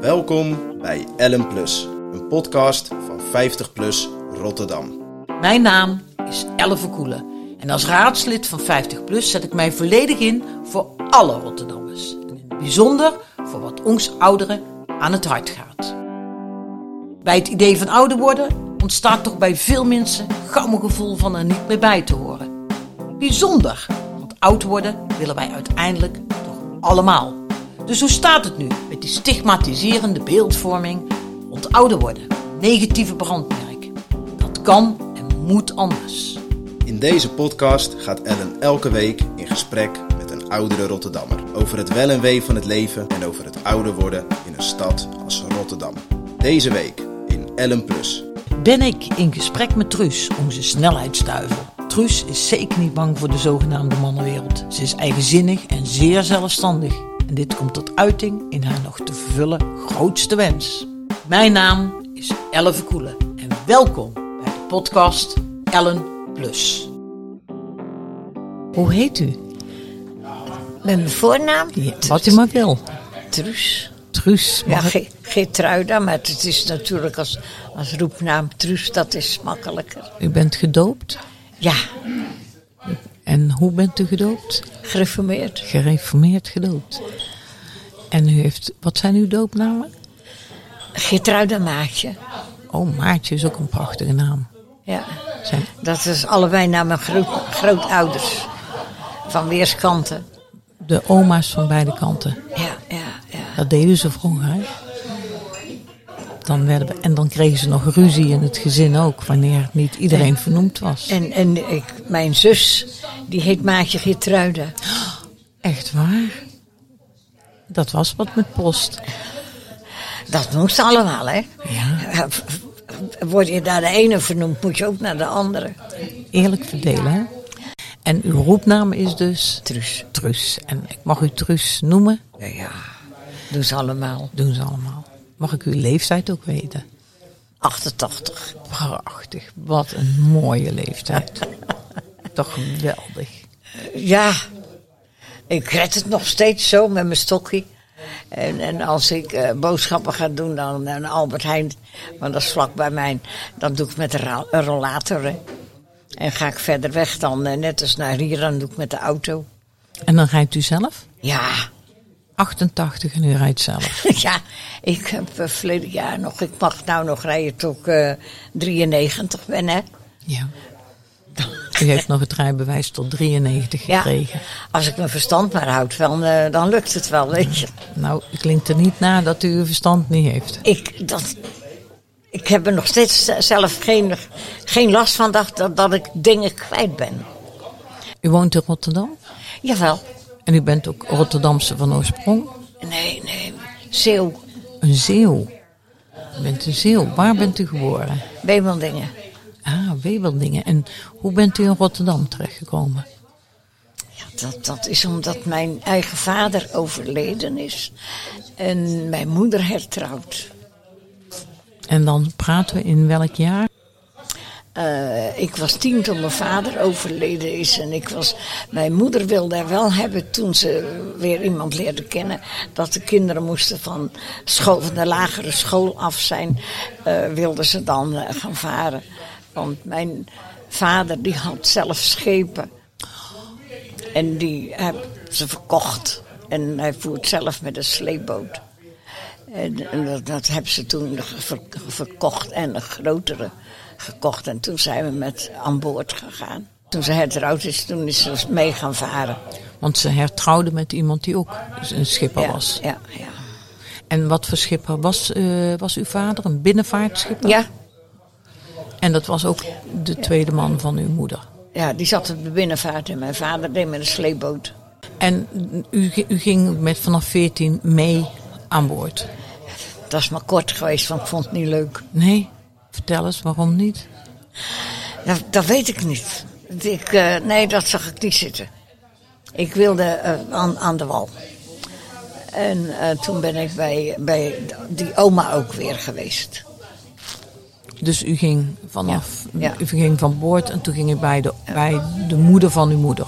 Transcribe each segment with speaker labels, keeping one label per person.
Speaker 1: Welkom bij Ellen Plus, een podcast van 50 Plus Rotterdam.
Speaker 2: Mijn naam is Elle Verkoelen en als raadslid van 50PLUS zet ik mij volledig in voor alle Rotterdammers. En in het bijzonder voor wat ons ouderen aan het hart gaat. Bij het idee van ouder worden ontstaat toch bij veel mensen gauw een gevoel van er niet meer bij te horen. Bijzonder, want oud worden willen wij uiteindelijk toch allemaal. Dus hoe staat het nu met die stigmatiserende beeldvorming rond ouder worden? Negatieve brandmerk. Dat kan en moet anders.
Speaker 1: In deze podcast gaat Ellen elke week in gesprek met een oudere Rotterdammer over het wel en wee van het leven en over het ouder worden in een stad als Rotterdam. Deze week in Ellen Plus.
Speaker 2: Ben ik in gesprek met Truus, onze snelheidsduivel. Truus is zeker niet bang voor de zogenaamde mannenwereld. Ze is eigenzinnig en zeer zelfstandig. En dit komt tot uiting in haar nog te vervullen grootste wens. Mijn naam is Elle Verkoelen en welkom bij de podcast Ellen Plus. Hoe heet u?
Speaker 3: Met mijn voornaam?
Speaker 2: Wat u maar wil.
Speaker 3: Truus.
Speaker 2: Truus.
Speaker 3: Ja,
Speaker 2: mag ik-
Speaker 3: Ge- Geertruida, maar het is natuurlijk als, als roepnaam Truus, dat is makkelijker.
Speaker 2: U bent gedoopt.
Speaker 3: Ja,
Speaker 2: En hoe bent u gedoopt?
Speaker 3: gereformeerd.
Speaker 2: Gereformeerd gedoopt. En u heeft, wat zijn uw doopnamen?
Speaker 3: Geertruida Maatje.
Speaker 2: Oh, Maartje is ook een prachtige naam.
Speaker 3: Ja,
Speaker 2: Zijn,
Speaker 3: dat is allebei naar mijn groot, grootouders. Van weerskanten.
Speaker 2: de oma's van beide kanten.
Speaker 3: Ja, ja, ja.
Speaker 2: Dat deden ze vroeger. hè? Dan werden we, en dan kregen ze nog ruzie in het gezin ook, wanneer niet iedereen vernoemd was.
Speaker 3: En, en ik, mijn zus, die heet Maatje Geertruida.
Speaker 2: Echt waar? Dat was wat met post.
Speaker 3: Dat moest allemaal, hè?
Speaker 2: Ja.
Speaker 3: Word je naar de ene vernoemd, moet je ook naar de andere.
Speaker 2: Eerlijk verdelen, hè? En uw roepnaam is dus
Speaker 3: Truus.
Speaker 2: Truus. En ik mag u Truus noemen,
Speaker 3: Ja, doen ze allemaal.
Speaker 2: doen ze allemaal. Mag ik uw leeftijd ook weten?
Speaker 3: 88.
Speaker 2: Prachtig, wat een mooie leeftijd. Toch geweldig.
Speaker 3: Ja, ik red het nog steeds zo met mijn stokje. En, en als ik eh, boodschappen ga doen dan aan Albert Heijn, want dat is vlak bij mij, dan doe ik het met een ra- een rollator. hè. En ga ik verder weg dan, eh, net als naar hier, dan doe ik met de auto.
Speaker 2: En dan rijdt u zelf?
Speaker 3: Ja,
Speaker 2: 88 en u rijdt zelf.
Speaker 3: ja, ik heb eh, verleden jaar nog, ik mag nou nog rijden tot ik eh, 93 ben, hè.
Speaker 2: Ja. U heeft nog het rijbewijs tot 93
Speaker 3: Ja,
Speaker 2: gekregen.
Speaker 3: als ik mijn verstand maar houd, dan, eh, dan lukt het wel, weet je.
Speaker 2: Nou, het klinkt er niet na dat u uw verstand niet heeft.
Speaker 3: Ik, dat, ik heb er nog steeds z- zelf geen, geen last van dat, dat, dat ik dingen kwijt ben.
Speaker 2: U woont in Rotterdam
Speaker 3: Jawel.
Speaker 2: en u bent ook Rotterdamse van oorsprong.
Speaker 3: Nee, nee. Zeeuw,
Speaker 2: Een Zeeuw. U bent een Zeeuw. Waar bent u geboren?
Speaker 3: Wemeldingen.
Speaker 2: Ah, Webeldingen. En hoe bent u in Rotterdam terechtgekomen?
Speaker 3: Ja, dat, dat is omdat mijn eigen vader overleden is. En mijn moeder hertrouwd.
Speaker 2: En dan praten we in welk jaar?
Speaker 3: Eh, ik was tien toen mijn vader overleden is. En ik was, mijn moeder wilde er wel hebben toen ze weer iemand leerde kennen. Dat de kinderen moesten van, school, van de lagere school af zijn. eh wilde ze dan eh, gaan varen. Want mijn vader die had zelf schepen. En die heb ze verkocht. En hij voert zelf met een sleepboot. En, en dat, dat hebben ze toen ver- verkocht en een grotere gekocht. En toen zijn we met aan boord gegaan. Toen ze hertrouwd is, toen is ze mee gaan varen.
Speaker 2: Want ze hertrouwde met iemand die ook dus een schipper
Speaker 3: ja,
Speaker 2: was.
Speaker 3: Ja, ja.
Speaker 2: En wat voor schipper was, eh, was uw vader? Een binnenvaartschipper?
Speaker 3: ja,
Speaker 2: En dat was ook de tweede man van uw moeder.
Speaker 3: ja, die zat op de binnenvaart en mijn vader deed met een sleepboot.
Speaker 2: En u, g- u ging met vanaf 14 mee aan boord.
Speaker 3: Dat is maar kort geweest, want ik vond het niet leuk.
Speaker 2: Nee? Vertel eens, waarom niet?
Speaker 3: Dat, dat weet ik niet. Ik, eh, nee, dat zag ik niet zitten. Ik wilde eh, aan, aan de wal. En eh, toen ben ik bij, bij die oma ook weer geweest.
Speaker 2: Dus u ging vanaf,
Speaker 3: Ja, ja.
Speaker 2: u ging van boord en toen ging u bij de, bij de moeder van uw moeder.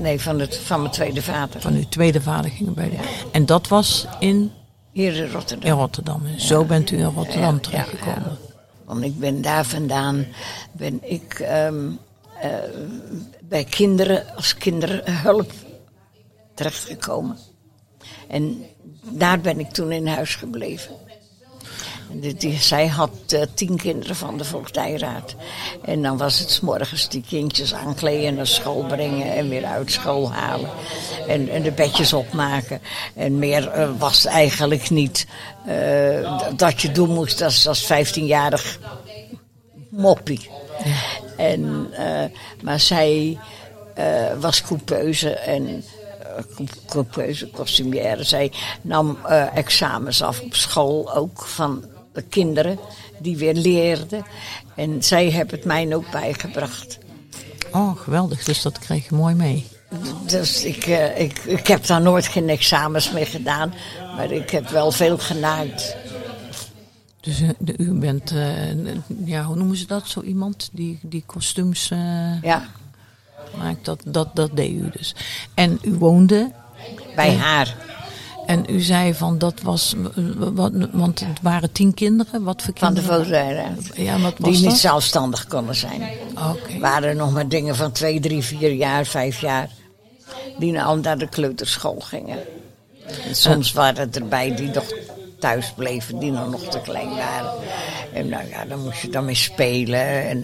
Speaker 3: Nee, van, het, van mijn tweede vader.
Speaker 2: Van uw tweede vader ging u bij de... En dat was in
Speaker 3: Hier in Rotterdam.
Speaker 2: in Rotterdam. En zo bent u in Rotterdam
Speaker 3: Ja,
Speaker 2: teruggekomen.
Speaker 3: ja, ja. Want ik ben daar vandaan, ben ik ehm, eh, bij kinderen als kinderhulp terechtgekomen. En daar ben ik toen in huis gebleven. En die- die- zij had eh, tien kinderen van de Voogdijraad. En dan was het 's morgens die kindjes aankleden, naar school brengen en weer uit school halen. En, en de bedjes opmaken. En meer eh, was het eigenlijk niet eh, d- dat je doen moest als, als 15-jarig moppie. En, eh, maar zij eh, was coupeuse en eh, coup- coupeuse, costumière. Zij nam eh, examens af op school ook van de kinderen die weer leerden. En zij hebben het mij ook bijgebracht.
Speaker 2: Oh, geweldig. Dus dat kreeg je mooi mee.
Speaker 3: Dus ik, eh, ik, ik heb daar nooit geen examens mee gedaan, maar ik heb wel veel genaaid.
Speaker 2: Dus eh, de- u bent, eh, n- ja, hoe noemen ze dat? Zo iemand die, die kostuums eh,
Speaker 3: Ja,
Speaker 2: maakt. Dat, dat, dat deed u dus. En u woonde
Speaker 3: bij haar.
Speaker 2: en u zei van dat was, eh, wat, want het waren tien kinderen. Wat voor
Speaker 3: Van de
Speaker 2: kinderen?
Speaker 3: Voogdijraad.
Speaker 2: Ja, wat was
Speaker 3: Die
Speaker 2: dat?
Speaker 3: niet zelfstandig konden zijn.
Speaker 2: Oké.
Speaker 3: waren nog maar dingen van twee, drie, vier jaar, vijf jaar. Die nou naar de kleuterschool gingen. En soms waren het erbij die nog thuis bleven, die nou nog te klein waren. En nou ja, dan moest je dan mee spelen en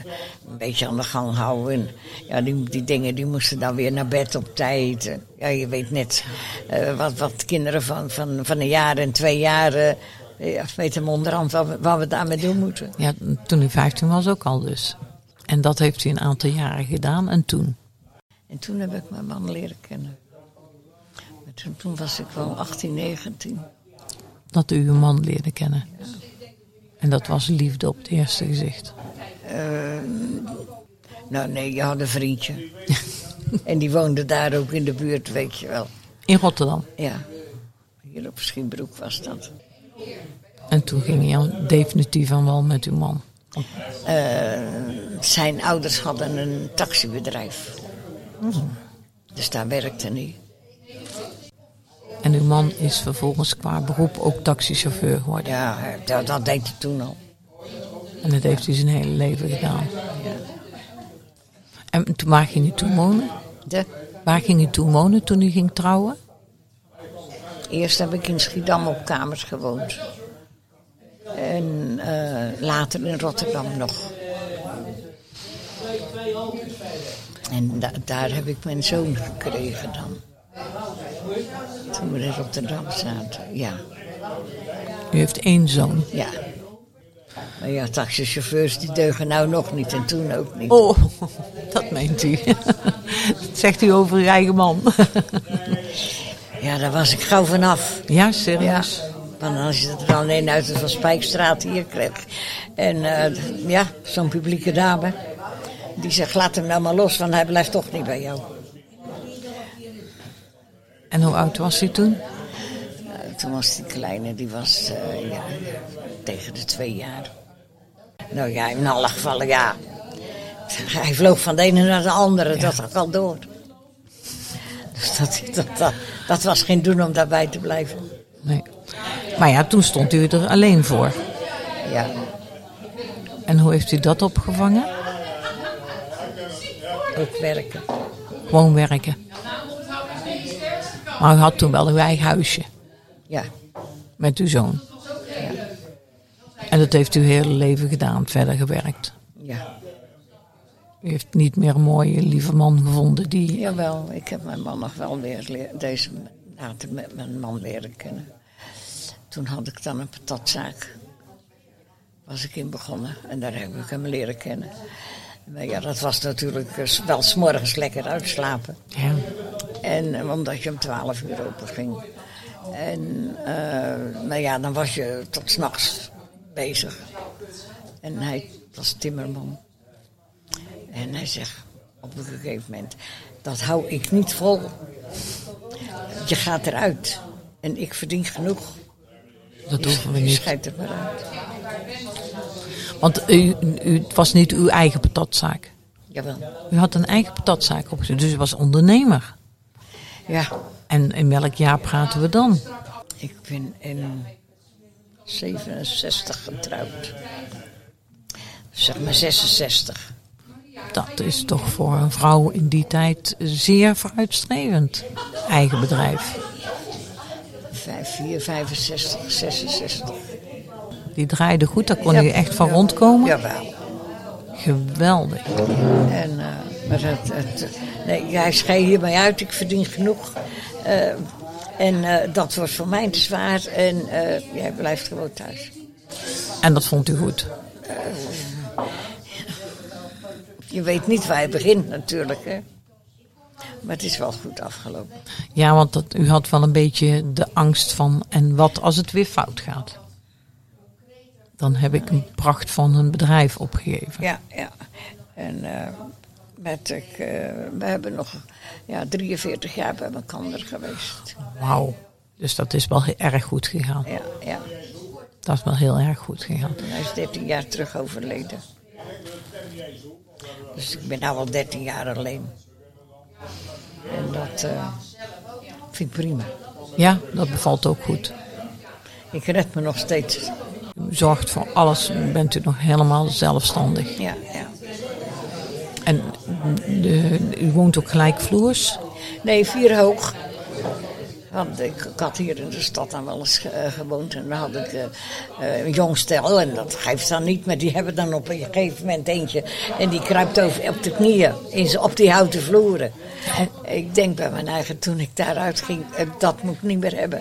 Speaker 3: een beetje aan de gang houden. En ja, die, die dingen die moesten dan weer naar bed op tijd. En Ja, je weet net eh, wat, wat kinderen van, van, van een jaar en twee jaar... eh, ja, weten onderhand wat we, wat we daarmee doen moeten.
Speaker 2: Ja, toen u 15 was ook al dus. En dat heeft u een aantal jaren gedaan. En toen?
Speaker 3: En toen heb ik mijn man leren kennen. Maar toen, toen was ik wel 18, 19.
Speaker 2: dat u uw man leerde kennen. En dat was liefde op het eerste gezicht.
Speaker 3: Nou nee, je had een vriendje. en die woonde daar ook in de buurt, weet je wel.
Speaker 2: In Rotterdam.
Speaker 3: Ja, hier op Schiebroek was dat.
Speaker 2: En toen ging je al definitief aan wal met uw man.
Speaker 3: Zijn ouders hadden een taxibedrijf. Dus daar werkte hij.
Speaker 2: En uw man is vervolgens qua beroep ook taxichauffeur geworden.
Speaker 3: Ja, dat, dat deed hij toen al.
Speaker 2: En dat heeft hij zijn hele leven gedaan. En toen, waar ging u toen wonen?
Speaker 3: De,
Speaker 2: Waar ging u toen wonen toen u ging trouwen?
Speaker 3: eerst heb ik in Schiedam op kamers gewoond. En eh, later in Rotterdam nog. En da- daar heb ik mijn zoon gekregen dan. Toen we in Rotterdam zaten, ja.
Speaker 2: U heeft één zoon.
Speaker 3: ja. Maar ja, taxichauffeurs die deugen nou nog niet en toen ook niet.
Speaker 2: Oh, dat meent u. Dat zegt u over uw eigen man.
Speaker 3: Ja, daar was ik gauw vanaf.
Speaker 2: Ja,
Speaker 3: Ja,
Speaker 2: serieus.
Speaker 3: want als je het er alleen uit de Van Spijkstraat hier kreeg. En eh, ja, zo'n publieke dame. Die zegt, laat hem nou maar los, want hij blijft toch niet bij jou.
Speaker 2: En hoe oud was hij toen?
Speaker 3: Eh, toen was die kleine, die was eh, ja, tegen de twee jaar. Nou ja, in alle gevallen ja. Hij vloog van de ene naar de andere, dat had ik al door. Dus dat, dat, dat, dat was geen doen om daarbij te blijven.
Speaker 2: Nee. Maar ja, toen stond u er alleen voor.
Speaker 3: Ja.
Speaker 2: En hoe heeft u dat opgevangen?
Speaker 3: Ook werken.
Speaker 2: Gewoon werken. Maar u had toen wel uw eigen huisje
Speaker 3: Ja.
Speaker 2: met uw zoon. En dat heeft u uw hele leven gedaan, verder gewerkt.
Speaker 3: Ja.
Speaker 2: U heeft niet meer een mooie, lieve man gevonden die...
Speaker 3: Jawel, ik heb mijn man nog wel weer leer- deze later met mijn man leren kennen. Toen had ik dan een patatzaak. Was ik in begonnen en daar heb ik hem leren kennen. Maar ja, dat was natuurlijk eh, s- wel s'morgens lekker uitslapen.
Speaker 2: Ja.
Speaker 3: En eh, omdat je om 12 uur open ging. En eh, nou ja, dan was je tot s'nachts bezig. En hij was timmerman. En hij zegt op een gegeven moment, dat hou ik niet vol. Je gaat eruit. En ik verdien genoeg.
Speaker 2: dat hoeven we
Speaker 3: Je
Speaker 2: niet.
Speaker 3: scheidt er maar uit.
Speaker 2: Want u, u, het was niet uw eigen patatzaak.
Speaker 3: Jawel.
Speaker 2: U had een eigen patatzaak opgezet, dus u was ondernemer.
Speaker 3: Ja,
Speaker 2: En in welk jaar praten we dan?
Speaker 3: ik ben in 67 getrouwd. Zeg maar 66.
Speaker 2: Dat is toch voor een vrouw in die tijd zeer vooruitstrevend. Eigen bedrijf.
Speaker 3: 54, 65, 66.
Speaker 2: Die draaide goed, daar kon je echt van rondkomen.
Speaker 3: Jawel.
Speaker 2: Geweldig.
Speaker 3: En, eh, maar het, het, nee, jij schreef hiermee uit, ik verdien genoeg. Eh, en eh, dat wordt voor mij te zwaar. En eh, jij blijft gewoon thuis.
Speaker 2: En dat vond u goed.
Speaker 3: Je weet niet waar je begint natuurlijk, hè. Maar het is wel goed afgelopen.
Speaker 2: Ja, want dat, u had wel een beetje de angst van en wat als het weer fout gaat? Dan heb ik een pracht van een bedrijf opgegeven.
Speaker 3: Ja, ja. En eh, met, ik, eh, we hebben nog ja, 43 jaar bij elkaar geweest.
Speaker 2: Wauw. Dus dat is wel heel erg goed gegaan.
Speaker 3: Ja, ja.
Speaker 2: Dat is wel heel erg goed gegaan.
Speaker 3: En hij is 13 jaar terug overleden. Dus ik ben nu al 13 jaar alleen. En dat eh, vind ik prima.
Speaker 2: Ja, dat bevalt ook goed.
Speaker 3: Ik red me nog steeds.
Speaker 2: U zorgt voor alles. U Bent u nog helemaal zelfstandig.
Speaker 3: Ja, ja.
Speaker 2: En de- u woont ook gelijkvloers.
Speaker 3: Nee, vier hoog. Want ik, ik had hier in de stad dan wel eens eh, gewoond. En dan had ik eh, eh, een jong stel. En dat geeft dan niet. Maar die hebben dan op een gegeven moment eentje. En die kruipt over, op de knieën. In, z- op die houten vloeren. En ik denk bij mijn eigen, toen ik daaruit ging. eh, dat moet ik niet meer hebben.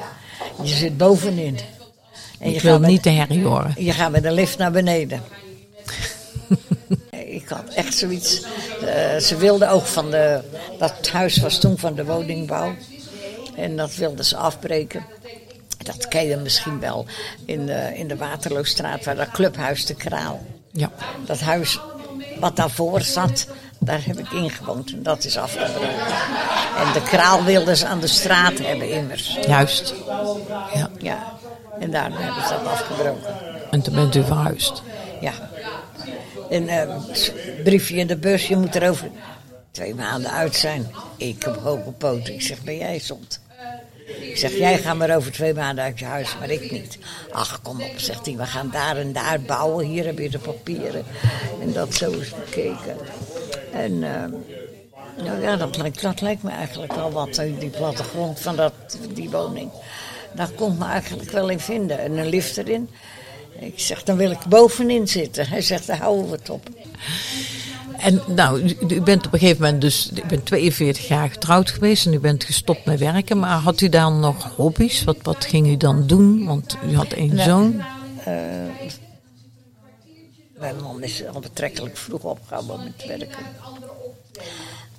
Speaker 3: Je zit bovenin. En
Speaker 2: Ik wil
Speaker 3: gaat met-
Speaker 2: niet de herrie horen.
Speaker 3: je gaat met de lift naar beneden. ik had echt zoiets. eh, ze wilden ook van de. Dat huis was toen van de woningbouw. En dat wilden ze afbreken. Dat ken je misschien wel. In de, in de Waterloostraat, waar dat clubhuis de Kraal.
Speaker 2: Ja.
Speaker 3: Dat huis wat daarvoor zat, daar heb ik ingewoond. En dat is afgebroken. En de Kraal wilden ze aan de straat hebben, immers.
Speaker 2: Juist. Ja.
Speaker 3: Ja. En daarom hebben ze dat afgebroken.
Speaker 2: En toen bent u verhuisd.
Speaker 3: Ja. Een eh, briefje in de bus, je moet er over twee maanden uit zijn. Ik heb hoge poten. Ik zeg, ben jij zond? Ik zeg, jij gaat maar over twee maanden uit je huis, maar ik niet. Ach, kom op, zegt hij, we gaan daar en daar bouwen. Hier heb je de papieren. En dat zo is bekeken. En, eh, nou ja, dat lijkt, dat lijkt me eigenlijk wel wat, eh, die plattegrond van dat, die woning. Daar kon ik me eigenlijk wel in vinden. En een lift erin. Ik zeg, dan wil ik bovenin zitten. Hij zegt, daar houden we het op.
Speaker 2: En nou, u- u bent op een gegeven moment dus, u bent 42 jaar getrouwd geweest en u bent gestopt met werken. Maar had u dan nog hobby's? Wat, wat ging u dan doen? Want u had één
Speaker 3: Nee.
Speaker 2: zoon.
Speaker 3: Mijn man is al betrekkelijk vroeg opgehouden met werken.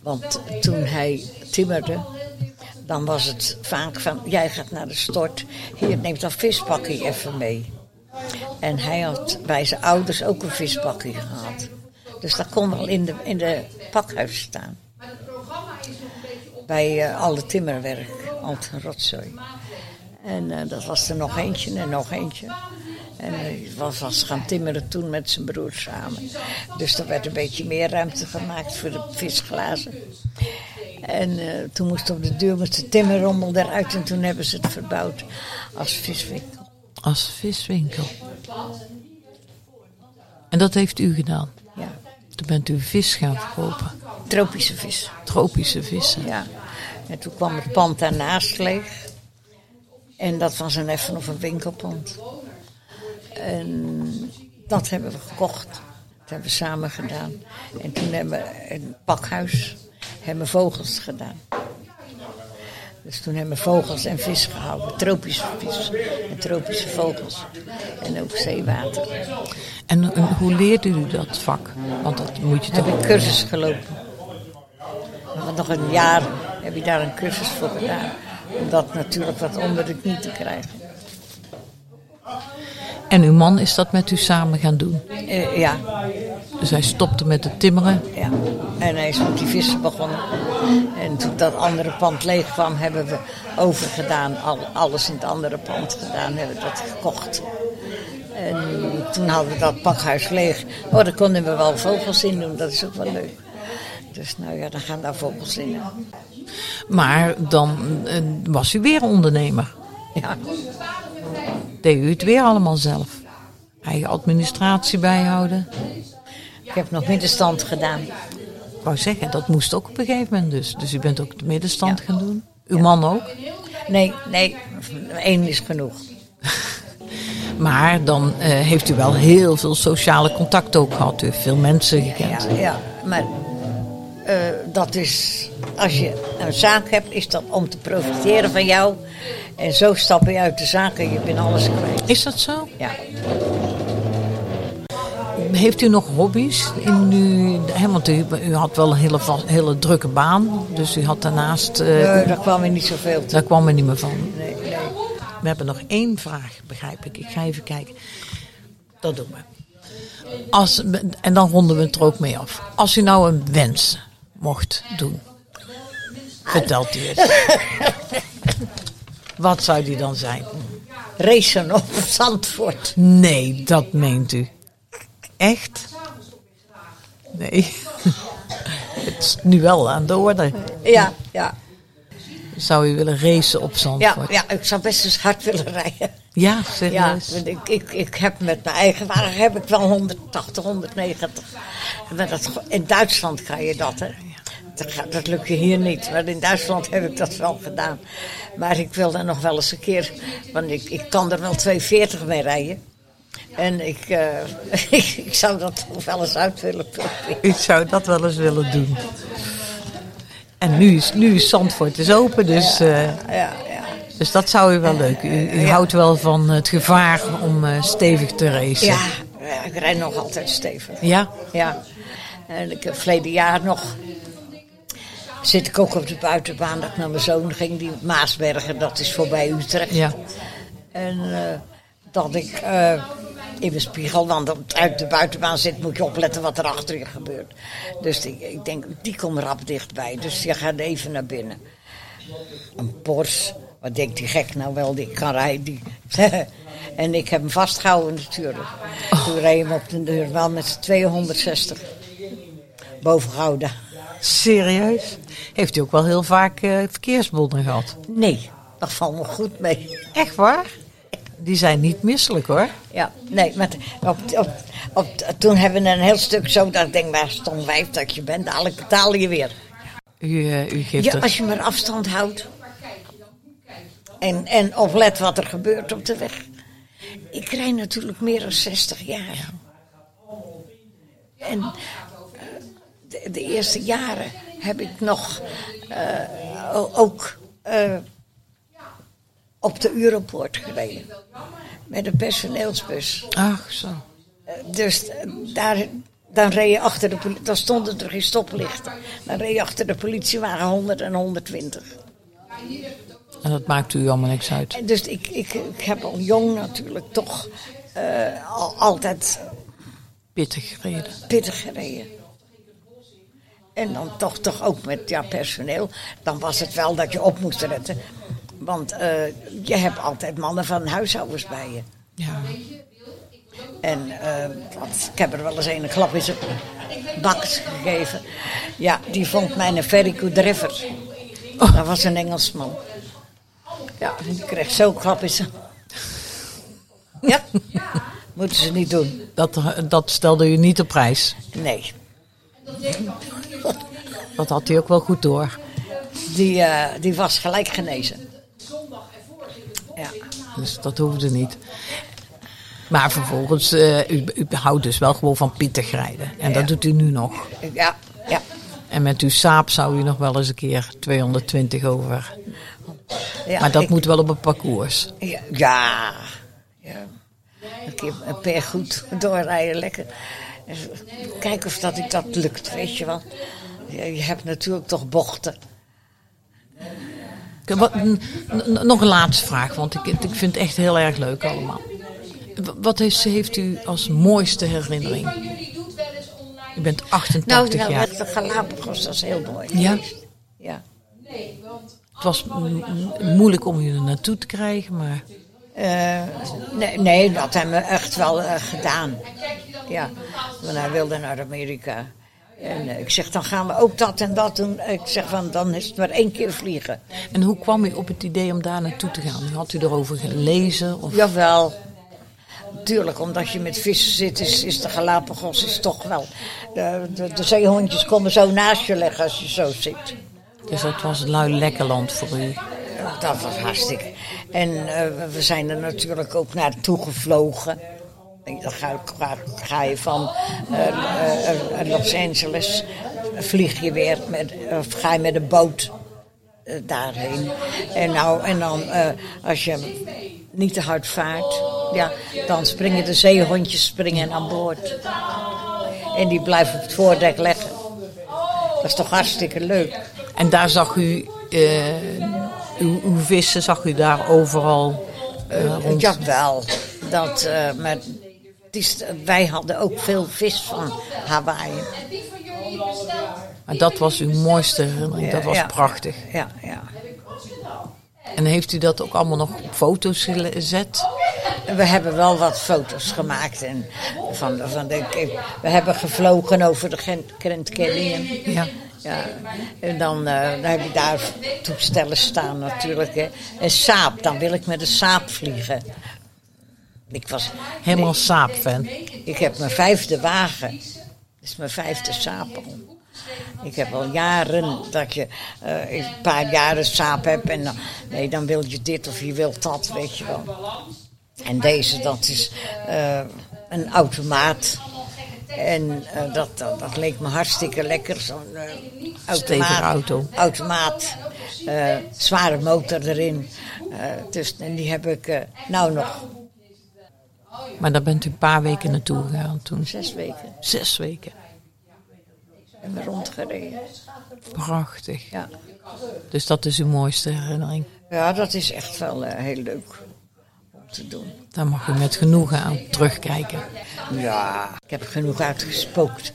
Speaker 3: Want toen hij timmerde, dan was het vaak van... jij gaat naar de stort, hier neemt dat vispakje even mee. En hij had bij zijn ouders ook een vispakje gehad. Dus dat kon wel in de, in de pakhuis staan. Bij eh, alle timmerwerk, al het rotzooi. En eh, dat was er nog eentje en nog eentje. En eh, hij was, was gaan timmeren toen met zijn broer samen. Dus er werd een beetje meer ruimte gemaakt voor de visglazen. En eh, toen moest op de deur moest de timmerrommel eruit. En toen hebben ze het verbouwd als viswinkel.
Speaker 2: Als viswinkel. En dat heeft u gedaan.
Speaker 3: Ja,
Speaker 2: Toen bent u vis gaan verkopen.
Speaker 3: tropische vis.
Speaker 2: Tropische vissen.
Speaker 3: Ja. En toen kwam het pand daarnaast leeg. En dat was een effen of een winkelpand. En dat hebben we gekocht. Dat hebben we samen gedaan. En toen hebben we een pakhuis, hebben we vogels gedaan. Dus toen hebben we vogels en vis gehouden. Tropische vis en tropische vogels. En ook zeewater.
Speaker 2: En, en hoe leert u dat vak? Want dat moet je
Speaker 3: heb
Speaker 2: toch...
Speaker 3: ik cursus gelopen. Want nog een jaar heb je daar een cursus voor gedaan. Om dat natuurlijk wat onder de knie te krijgen.
Speaker 2: En uw man is dat met u samen gaan doen.
Speaker 3: Eh, ja,
Speaker 2: Dus hij stopte met het timmeren.
Speaker 3: ja. En hij is met die vissen begonnen. En toen dat andere pand leeg kwam, hebben we overgedaan. Al, alles in het andere pand gedaan, hebben we dat gekocht. En toen hadden we dat pakhuis leeg. Oh, daar konden we wel vogels in doen, dat is ook wel leuk. Dus nou ja, dan gaan daar vogels in.
Speaker 2: Maar dan eh, was u weer ondernemer.
Speaker 3: Ja.
Speaker 2: deed u het weer allemaal zelf. Eigen administratie bijhouden.
Speaker 3: Ik heb nog middenstand gedaan.
Speaker 2: Ik wou zeggen, dat moest ook op een gegeven moment dus. Dus u bent ook de middenstand gaan doen. Uw man ook.
Speaker 3: Nee, nee, één is genoeg.
Speaker 2: Maar dan eh, heeft u wel heel veel sociale contact ook gehad. U heeft veel mensen gekend.
Speaker 3: Ja, ja maar eh, dat is, als je een zaak hebt, is dat om te profiteren van jou. En zo stap je uit de zaak en je bent alles kwijt.
Speaker 2: Is dat zo?
Speaker 3: Ja.
Speaker 2: Heeft u nog hobby's? In nu, hè, want u, u had wel een hele, va- hele drukke baan. Dus u had daarnaast... eh,
Speaker 3: Nee, daar kwam er niet zoveel toe.
Speaker 2: Daar kwam er niet meer van.
Speaker 3: Nee, nee.
Speaker 2: We hebben nog één vraag, begrijp ik. Ik ga even kijken. Dat doen we. Als, en dan ronden we het er ook mee af. Als u nou een wens mocht doen, vertelt u eens. Wat zou die dan zijn?
Speaker 3: Racen op Zandvoort.
Speaker 2: Nee, dat meent u. Echt? Nee. Het is nu wel aan de orde.
Speaker 3: Ja, ja,
Speaker 2: Zou u willen racen op
Speaker 3: ja,
Speaker 2: Zandvoort?
Speaker 3: ja, ik zou best eens hard willen rijden.
Speaker 2: ja
Speaker 3: Ja,
Speaker 2: serieus?
Speaker 3: want ik, ik, ik heb met mijn eigen wagen heb ik wel 180, 190. Maar dat, in Duitsland kan je dat, hè? Dat, ga- dat lukt je hier niet, maar in Duitsland heb ik dat wel gedaan. Maar ik wil daar nog wel eens een keer, want ik, ik kan er wel 240 mee rijden. En ik, eh, ik, ik zou dat nog wel eens uit willen proberen.
Speaker 2: U zou dat wel eens willen doen. En nu is, nu is Zandvoort is open, dus, eh,
Speaker 3: Ja, ja.
Speaker 2: dus dat zou u wel leuk. U, u houdt wel van het gevaar om eh, stevig te racen.
Speaker 3: Ja, ja, ik rijd nog altijd stevig.
Speaker 2: Ja?
Speaker 3: Ja, en ik heb verleden jaar nog. Zit ik ook op de buitenbaan dat ik naar mijn zoon ging, die Maasbergen, dat is voorbij Utrecht.
Speaker 2: Ja.
Speaker 3: En eh, dat ik eh, in mijn spiegel, want op- uit de buitenbaan zit, moet je opletten wat er achter je gebeurt. Dus die- ik denk, die komt rap dichtbij, dus je gaat even naar binnen. Een Porsche, wat denkt die gek nou wel, die kan rijden. Die. en ik heb hem vastgehouden natuurlijk. Toen reed hem op de deur wel met z'n 260 boven Gouda.
Speaker 2: Serieus? Heeft u ook wel heel vaak eh, verkeersbonden gehad?
Speaker 3: Nee, dat valt me goed mee.
Speaker 2: Echt waar? Die zijn niet misselijk hoor.
Speaker 3: Ja, nee, maar op, op, op, toen hebben we een heel stuk zo dat ik denk, waar stom wijf dat je bent, dadelijk betalen je weer.
Speaker 2: U, eh, u geeft
Speaker 3: Ja,
Speaker 2: er-
Speaker 3: als je maar afstand houdt. En, en oplet wat er gebeurt op de weg. Ik rij natuurlijk meer dan 60 jaar. En eh, de, de eerste jaren heb ik nog eh, o- ook eh, op de Europoort gereden. Met een personeelsbus.
Speaker 2: Ach zo.
Speaker 3: Dus eh, daar, dan reed je achter de politie. Dan stonden er geen stoplichten. Dan reed je achter de politiewagen 100 en 120.
Speaker 2: En dat maakt u allemaal niks uit.
Speaker 3: En dus ik, ik, ik heb al jong natuurlijk toch eh, al, altijd
Speaker 2: Pittig gereden.
Speaker 3: pittig gereden. En dan toch, toch ook met ja, personeel. Dan was het wel dat je op moest letten. Want eh, je hebt altijd mannen van huishoudens bij je.
Speaker 2: Ja.
Speaker 3: En eh, want ik heb er wel eens een klap in zijn baks gegeven. Ja, die vond mij een vertico driver.
Speaker 2: Oh.
Speaker 3: Dat was een Engelsman. Ja, en die kreeg zo'n klap in zijn... Ja, moeten ze niet doen.
Speaker 2: Dat, eh, dat stelde u niet op prijs.
Speaker 3: Nee.
Speaker 2: Dat had hij ook wel goed door.
Speaker 3: Die, eh, die was gelijk genezen. Ja.
Speaker 2: Dus dat hoefde niet. Maar vervolgens, eh, u, u houdt dus wel gewoon van pittig rijden. En dat doet u nu nog.
Speaker 3: Ja, ja.
Speaker 2: En met uw saap zou u nog wel eens een keer 220 over.
Speaker 3: ja
Speaker 2: maar dat
Speaker 3: ik-
Speaker 2: moet wel op een parcours.
Speaker 3: Ja. ja. ja. Een keer een paar goed doorrijden, lekker. Kijken of dat, ik dat lukt, weet je wel. Je, je hebt natuurlijk toch bochten.
Speaker 2: K- Wat, n- n- nog een laatste vraag, want ik, ik vind het echt heel erg leuk allemaal. W- Wat heeft, heeft u als mooiste herinnering? U bent 88
Speaker 3: Nou, nou
Speaker 2: jaar.
Speaker 3: met de Galapagos, dat is heel mooi.
Speaker 2: Ja.
Speaker 3: geweest. ja.
Speaker 2: Het was m- m- moeilijk om u er naartoe te krijgen, maar...
Speaker 3: Eh, nee, nee, dat hebben we echt wel eh, gedaan. Ja, want hij wilde naar Amerika. En eh, ik zeg, dan gaan we ook dat en dat doen. Ik zeg van, dan is het maar één keer vliegen.
Speaker 2: En hoe kwam u op het idee om daar naartoe te gaan? Had u erover gelezen? Of...
Speaker 3: Jawel. Tuurlijk, omdat je met vissen zit, is, is de Galapagos is toch wel... De, de, de zeehondjes komen zo naast je leggen als je zo zit.
Speaker 2: Dus dat was een lui lekker land voor u.
Speaker 3: Ja, Nou, dat was hartstikke. En eh, we zijn er natuurlijk ook naartoe gevlogen. En Dan ga, ga, ga je van eh, eh, eh, Los Angeles, vlieg je weer, met, of ga je met een boot eh, daarheen. En, nou, en dan, eh, als je niet te hard vaart, ja, dan springen de zeehondjes springen aan boord. En die blijven op het voordek leggen. Dat is toch hartstikke leuk.
Speaker 2: En daar zag u, eh, uw, uw vissen zag u daar overal eh, rond.
Speaker 3: Ja, wel. Dat, eh, maar het is, wij hadden ook veel vis van Hawaii.
Speaker 2: Maar dat was uw mooiste herinnering, dat was
Speaker 3: Ja.
Speaker 2: prachtig.
Speaker 3: Ja, ja.
Speaker 2: En heeft u dat ook allemaal nog op foto's gezet?
Speaker 3: We hebben wel wat foto's gemaakt. En van, van de, we hebben gevlogen over de Gent- Grand Canyon.
Speaker 2: Ja.
Speaker 3: Ja, en dan, eh, dan heb je daar toestellen staan natuurlijk. Hè. En saap, dan wil ik met een saap vliegen. Ik was...
Speaker 2: Helemaal saap-fan.
Speaker 3: Ik heb mijn vijfde wagen. Dat is mijn vijfde sapel. Ik heb al jaren dat je eh, een paar jaren saap hebt en dan, nee, dan wil je dit of je wilt dat, weet je wel. En deze, dat is eh, een automaat. En eh, dat, dat, dat leek me hartstikke lekker, zo'n eh, automaat.
Speaker 2: Stevige auto.
Speaker 3: Automaat, eh, zware motor erin. Eh, dus, en die heb ik eh, nou nog
Speaker 2: Maar daar bent u een paar weken naartoe gegaan toen.
Speaker 3: zes weken
Speaker 2: Zes weken.
Speaker 3: hebben we rondgereden.
Speaker 2: Prachtig.
Speaker 3: Ja.
Speaker 2: Dus dat is uw mooiste herinnering.
Speaker 3: Ja, dat is echt wel eh, heel leuk om te doen.
Speaker 2: Daar mag u met genoegen aan terugkijken.
Speaker 3: Ja. Ik heb genoeg uitgespookt.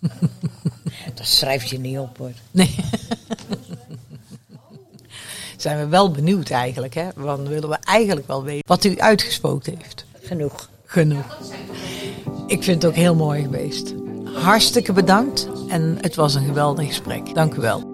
Speaker 3: dat schrijf je niet op hoor.
Speaker 2: Nee. Zijn we wel benieuwd eigenlijk, hè? Want willen we eigenlijk wel weten wat u uitgespookt heeft.
Speaker 3: Genoeg.
Speaker 2: Genoeg. Ik vind het ook heel mooi geweest. Hartstikke bedankt en het was een geweldig gesprek. Dank u wel.